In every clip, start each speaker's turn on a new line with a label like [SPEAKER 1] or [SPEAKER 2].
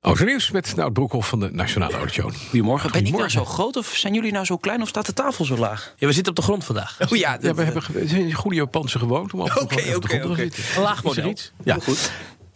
[SPEAKER 1] Autonieuws Oh, met Nout Broekhoff van de Nationale Autoshow.
[SPEAKER 2] Goedemorgen. Ben ik nou zo groot of zijn jullie nou zo klein of staat de tafel zo laag?
[SPEAKER 3] Ja, we zitten op de grond vandaag.
[SPEAKER 2] Oh ja,
[SPEAKER 1] Ja, we hebben ge- we zijn in goede Japanse gewoond om af en toe
[SPEAKER 2] Oké,
[SPEAKER 1] gewoon even op de
[SPEAKER 2] oké,
[SPEAKER 1] grond te
[SPEAKER 2] oké.
[SPEAKER 1] gaan zitten.
[SPEAKER 3] Een laag
[SPEAKER 1] Is er
[SPEAKER 3] model.
[SPEAKER 1] iets? Ja, goed.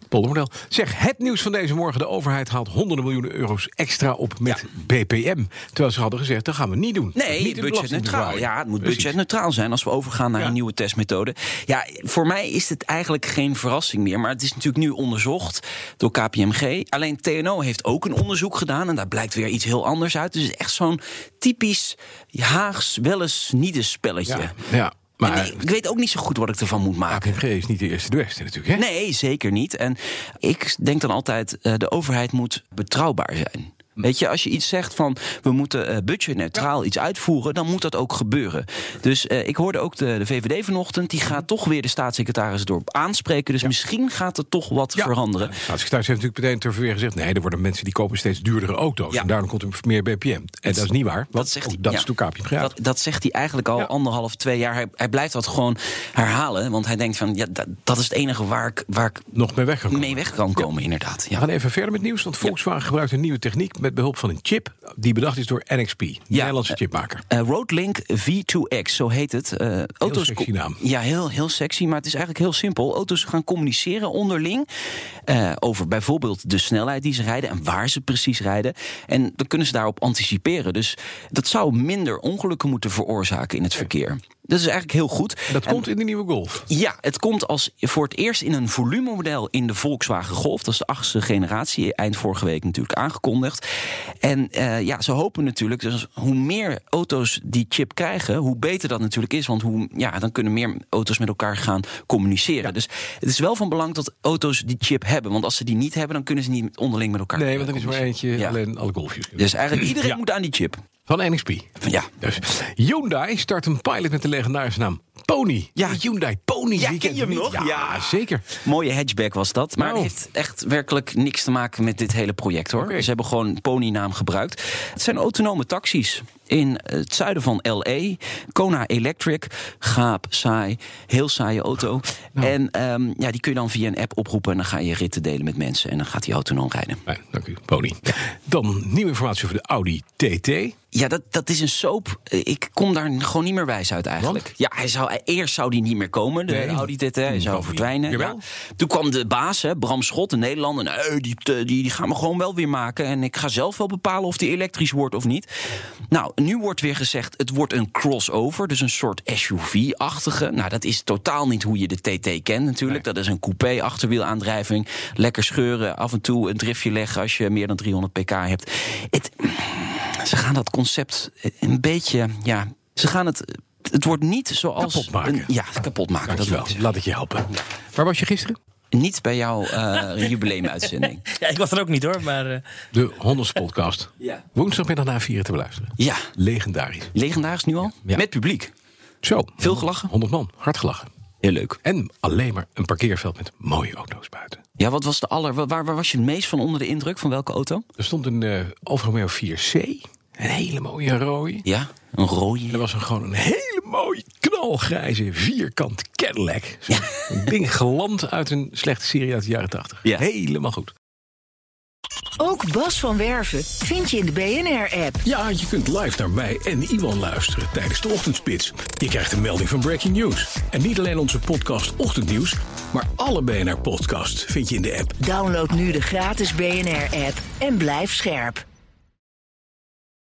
[SPEAKER 1] Poldermodel. Zeg, het nieuws van deze morgen. De overheid haalt honderden miljoenen euro's extra op met BPM. Terwijl ze hadden gezegd, dat gaan we niet doen.
[SPEAKER 2] Nee,
[SPEAKER 1] Niet de
[SPEAKER 2] budgetneutraal.
[SPEAKER 1] belastingverlaging.
[SPEAKER 2] Ja, het moet
[SPEAKER 1] Precies.
[SPEAKER 2] budgetneutraal zijn als we overgaan naar
[SPEAKER 1] Ja.
[SPEAKER 2] een nieuwe testmethode. Ja, voor mij is het eigenlijk geen verrassing meer. Maar het is natuurlijk nu onderzocht door KPMG. Alleen TNO heeft ook een onderzoek gedaan en daar blijkt weer iets heel anders uit. Dus het is echt zo'n typisch Haags wel eens niet eens spelletje.
[SPEAKER 1] Ja, ja, maar
[SPEAKER 2] En ik, ik weet ook niet zo goed wat ik ervan moet maken.
[SPEAKER 1] KPMG is niet de eerste de beste natuurlijk, hè?
[SPEAKER 2] Nee, zeker niet. En ik denk dan altijd, eh, de overheid moet betrouwbaar zijn. Weet je, als je iets zegt van we moeten eh, budgetneutraal iets uitvoeren, dan moet dat ook gebeuren. Dus eh, ik hoorde ook de, de VVD vanochtend, die gaat toch weer de staatssecretaris erop aanspreken. Dus misschien gaat er toch wat
[SPEAKER 1] Ja.
[SPEAKER 2] veranderen.
[SPEAKER 1] Nou, de secretaris heeft natuurlijk meteen ter verweer gezegd... nee, er worden mensen die kopen steeds duurdere auto's...
[SPEAKER 2] Ja.
[SPEAKER 1] en daarom komt er meer BPM. En dat, is niet waar, want dat,
[SPEAKER 2] zegt hij,
[SPEAKER 1] Oh, dat
[SPEAKER 2] ja.
[SPEAKER 1] is toen KPMG.
[SPEAKER 2] Dat, dat zegt hij eigenlijk al
[SPEAKER 1] Ja.
[SPEAKER 2] anderhalf, twee jaar. Hij, hij blijft dat gewoon herhalen, want hij denkt van ja, dat, dat is het enige waar ik, waar ik
[SPEAKER 1] nog mee weggekomen.
[SPEAKER 2] mee weg kan komen, inderdaad.
[SPEAKER 1] We
[SPEAKER 2] Ja.
[SPEAKER 1] gaan even verder met nieuws, want Volkswagen gebruikt een nieuwe techniek... met behulp van een chip die bedacht is door NXP, de Nederlandse
[SPEAKER 2] eh,
[SPEAKER 1] chipmaker.
[SPEAKER 2] Eh, Roadlink V2X, zo heet het. Eh, auto's
[SPEAKER 1] sexy naam.
[SPEAKER 2] Ja, heel, heel sexy, maar het is eigenlijk heel simpel. Auto's gaan communiceren onderling eh, over bijvoorbeeld de snelheid die ze rijden en waar ze precies rijden. En dan kunnen ze daarop anticiperen. Dus dat zou minder ongelukken moeten veroorzaken in het verkeer. Dat is eigenlijk heel goed.
[SPEAKER 1] Dat
[SPEAKER 2] En-
[SPEAKER 1] komt in de nieuwe Golf.
[SPEAKER 2] ja, het komt als voor het eerst in een volumemodel in de Volkswagen Golf. Dat is de achtste generatie, eind vorige week natuurlijk aangekondigd. En eh, ja, ze hopen natuurlijk, dus hoe meer auto's die chip krijgen, hoe beter dat natuurlijk is. Want hoe, ja, dan kunnen meer auto's met elkaar gaan communiceren. Dus het is wel van belang dat auto's die chip hebben. Want als ze die niet hebben, dan kunnen ze niet onderling met elkaar
[SPEAKER 1] Nee, want er is maar eentje,
[SPEAKER 2] Ja.
[SPEAKER 1] alleen alle Golfjes.
[SPEAKER 2] Dus eigenlijk iedereen
[SPEAKER 1] Ja.
[SPEAKER 2] moet aan die chip.
[SPEAKER 1] Van NXP.
[SPEAKER 2] Ja.
[SPEAKER 1] Dus Hyundai start een pilot met de legendarische naam Pony.
[SPEAKER 2] Ja.
[SPEAKER 1] De Hyundai Pony.
[SPEAKER 2] Ja,
[SPEAKER 1] die
[SPEAKER 2] ken je hem nog?
[SPEAKER 1] Ja,
[SPEAKER 2] Ja.
[SPEAKER 1] zeker.
[SPEAKER 2] Mooie hatchback was dat. Maar
[SPEAKER 1] Nou.
[SPEAKER 2] het heeft echt werkelijk niks te maken met dit hele project hoor.
[SPEAKER 1] Oké.
[SPEAKER 2] Ze hebben gewoon ponynaam gebruikt. Het zijn autonome taxis in het zuiden van LA. Kona Electric. Gaap, saai. Heel saaie auto.
[SPEAKER 1] Nou.
[SPEAKER 2] En ehm, ja, die kun je dan via een app oproepen. En dan ga je ritten delen met mensen. En dan gaat die autonoom rijden.
[SPEAKER 1] Fijn, dank u, Pony. Dan nieuwe informatie over de Audi TT.
[SPEAKER 2] Ja, dat, dat is een soap. Ik kom daar gewoon niet meer wijs uit eigenlijk.
[SPEAKER 1] Want?
[SPEAKER 2] Ja, hij zou, eerst zou die niet meer komen, de
[SPEAKER 1] Nee. Mm,
[SPEAKER 2] Audi TT. Hij zou
[SPEAKER 1] niet.
[SPEAKER 2] verdwijnen. Ja.
[SPEAKER 1] Jawel.
[SPEAKER 2] Toen kwam de baas, hè, Bram Schot, een Nederlander. Nee, die, die, die gaan we gewoon wel weer maken. En ik ga zelf wel bepalen of die elektrisch wordt of niet. Nou, nu wordt weer gezegd, het wordt een crossover. Dus een soort SUV-achtige. Nou, dat is totaal niet hoe je de TT kent natuurlijk. Dat is een coupé, achterwielaandrijving. Lekker scheuren, af en toe een driftje leggen... als je meer dan 300 pk hebt. Het, ze gaan dat concept een beetje, ja, ze gaan het. Het wordt niet zoals
[SPEAKER 1] Kapot maken.
[SPEAKER 2] een- ja, kapot maken. Dat
[SPEAKER 1] Dankjewel,
[SPEAKER 2] wil ik zeggen.
[SPEAKER 1] laat ik je helpen. Waar was je gisteren?
[SPEAKER 2] Niet bij jouw eh jubileumuitzending.
[SPEAKER 3] Ja, ik was er ook niet hoor, maar eh,
[SPEAKER 1] De Hondas podcast.
[SPEAKER 2] Ja.
[SPEAKER 1] Woensdagmiddag na vieren te beluisteren.
[SPEAKER 2] Ja,
[SPEAKER 1] Legendarisch.
[SPEAKER 2] legendarisch nu al
[SPEAKER 1] Ja.
[SPEAKER 2] met publiek.
[SPEAKER 1] Zo.
[SPEAKER 2] Veel gelachen?
[SPEAKER 1] 100 man, hard gelachen.
[SPEAKER 2] Heel leuk.
[SPEAKER 1] En alleen maar een parkeerveld met mooie auto's buiten.
[SPEAKER 2] Ja, wat was de aller? Waar, waar was je het meest van onder de indruk van welke auto?
[SPEAKER 1] Er stond een eh Alfa Romeo 4C. Een hele mooie rode.
[SPEAKER 2] Ja, een rode.
[SPEAKER 1] En er was een, gewoon een hele mooie knalgrijze vierkant Cadillac. Zo'n ding geland uit een slechte serie uit de jaren 80.
[SPEAKER 2] Ja.
[SPEAKER 1] Helemaal goed.
[SPEAKER 4] Ook Bas van Werven vind je in de BNR-app.
[SPEAKER 5] Ja, je kunt live naar mij en Iwan luisteren tijdens de ochtendspits. Je krijgt een melding van Breaking News. En niet alleen onze podcast Ochtendnieuws, maar alle BNR-podcasts vind je in de app.
[SPEAKER 4] Download nu de gratis BNR-app en blijf scherp.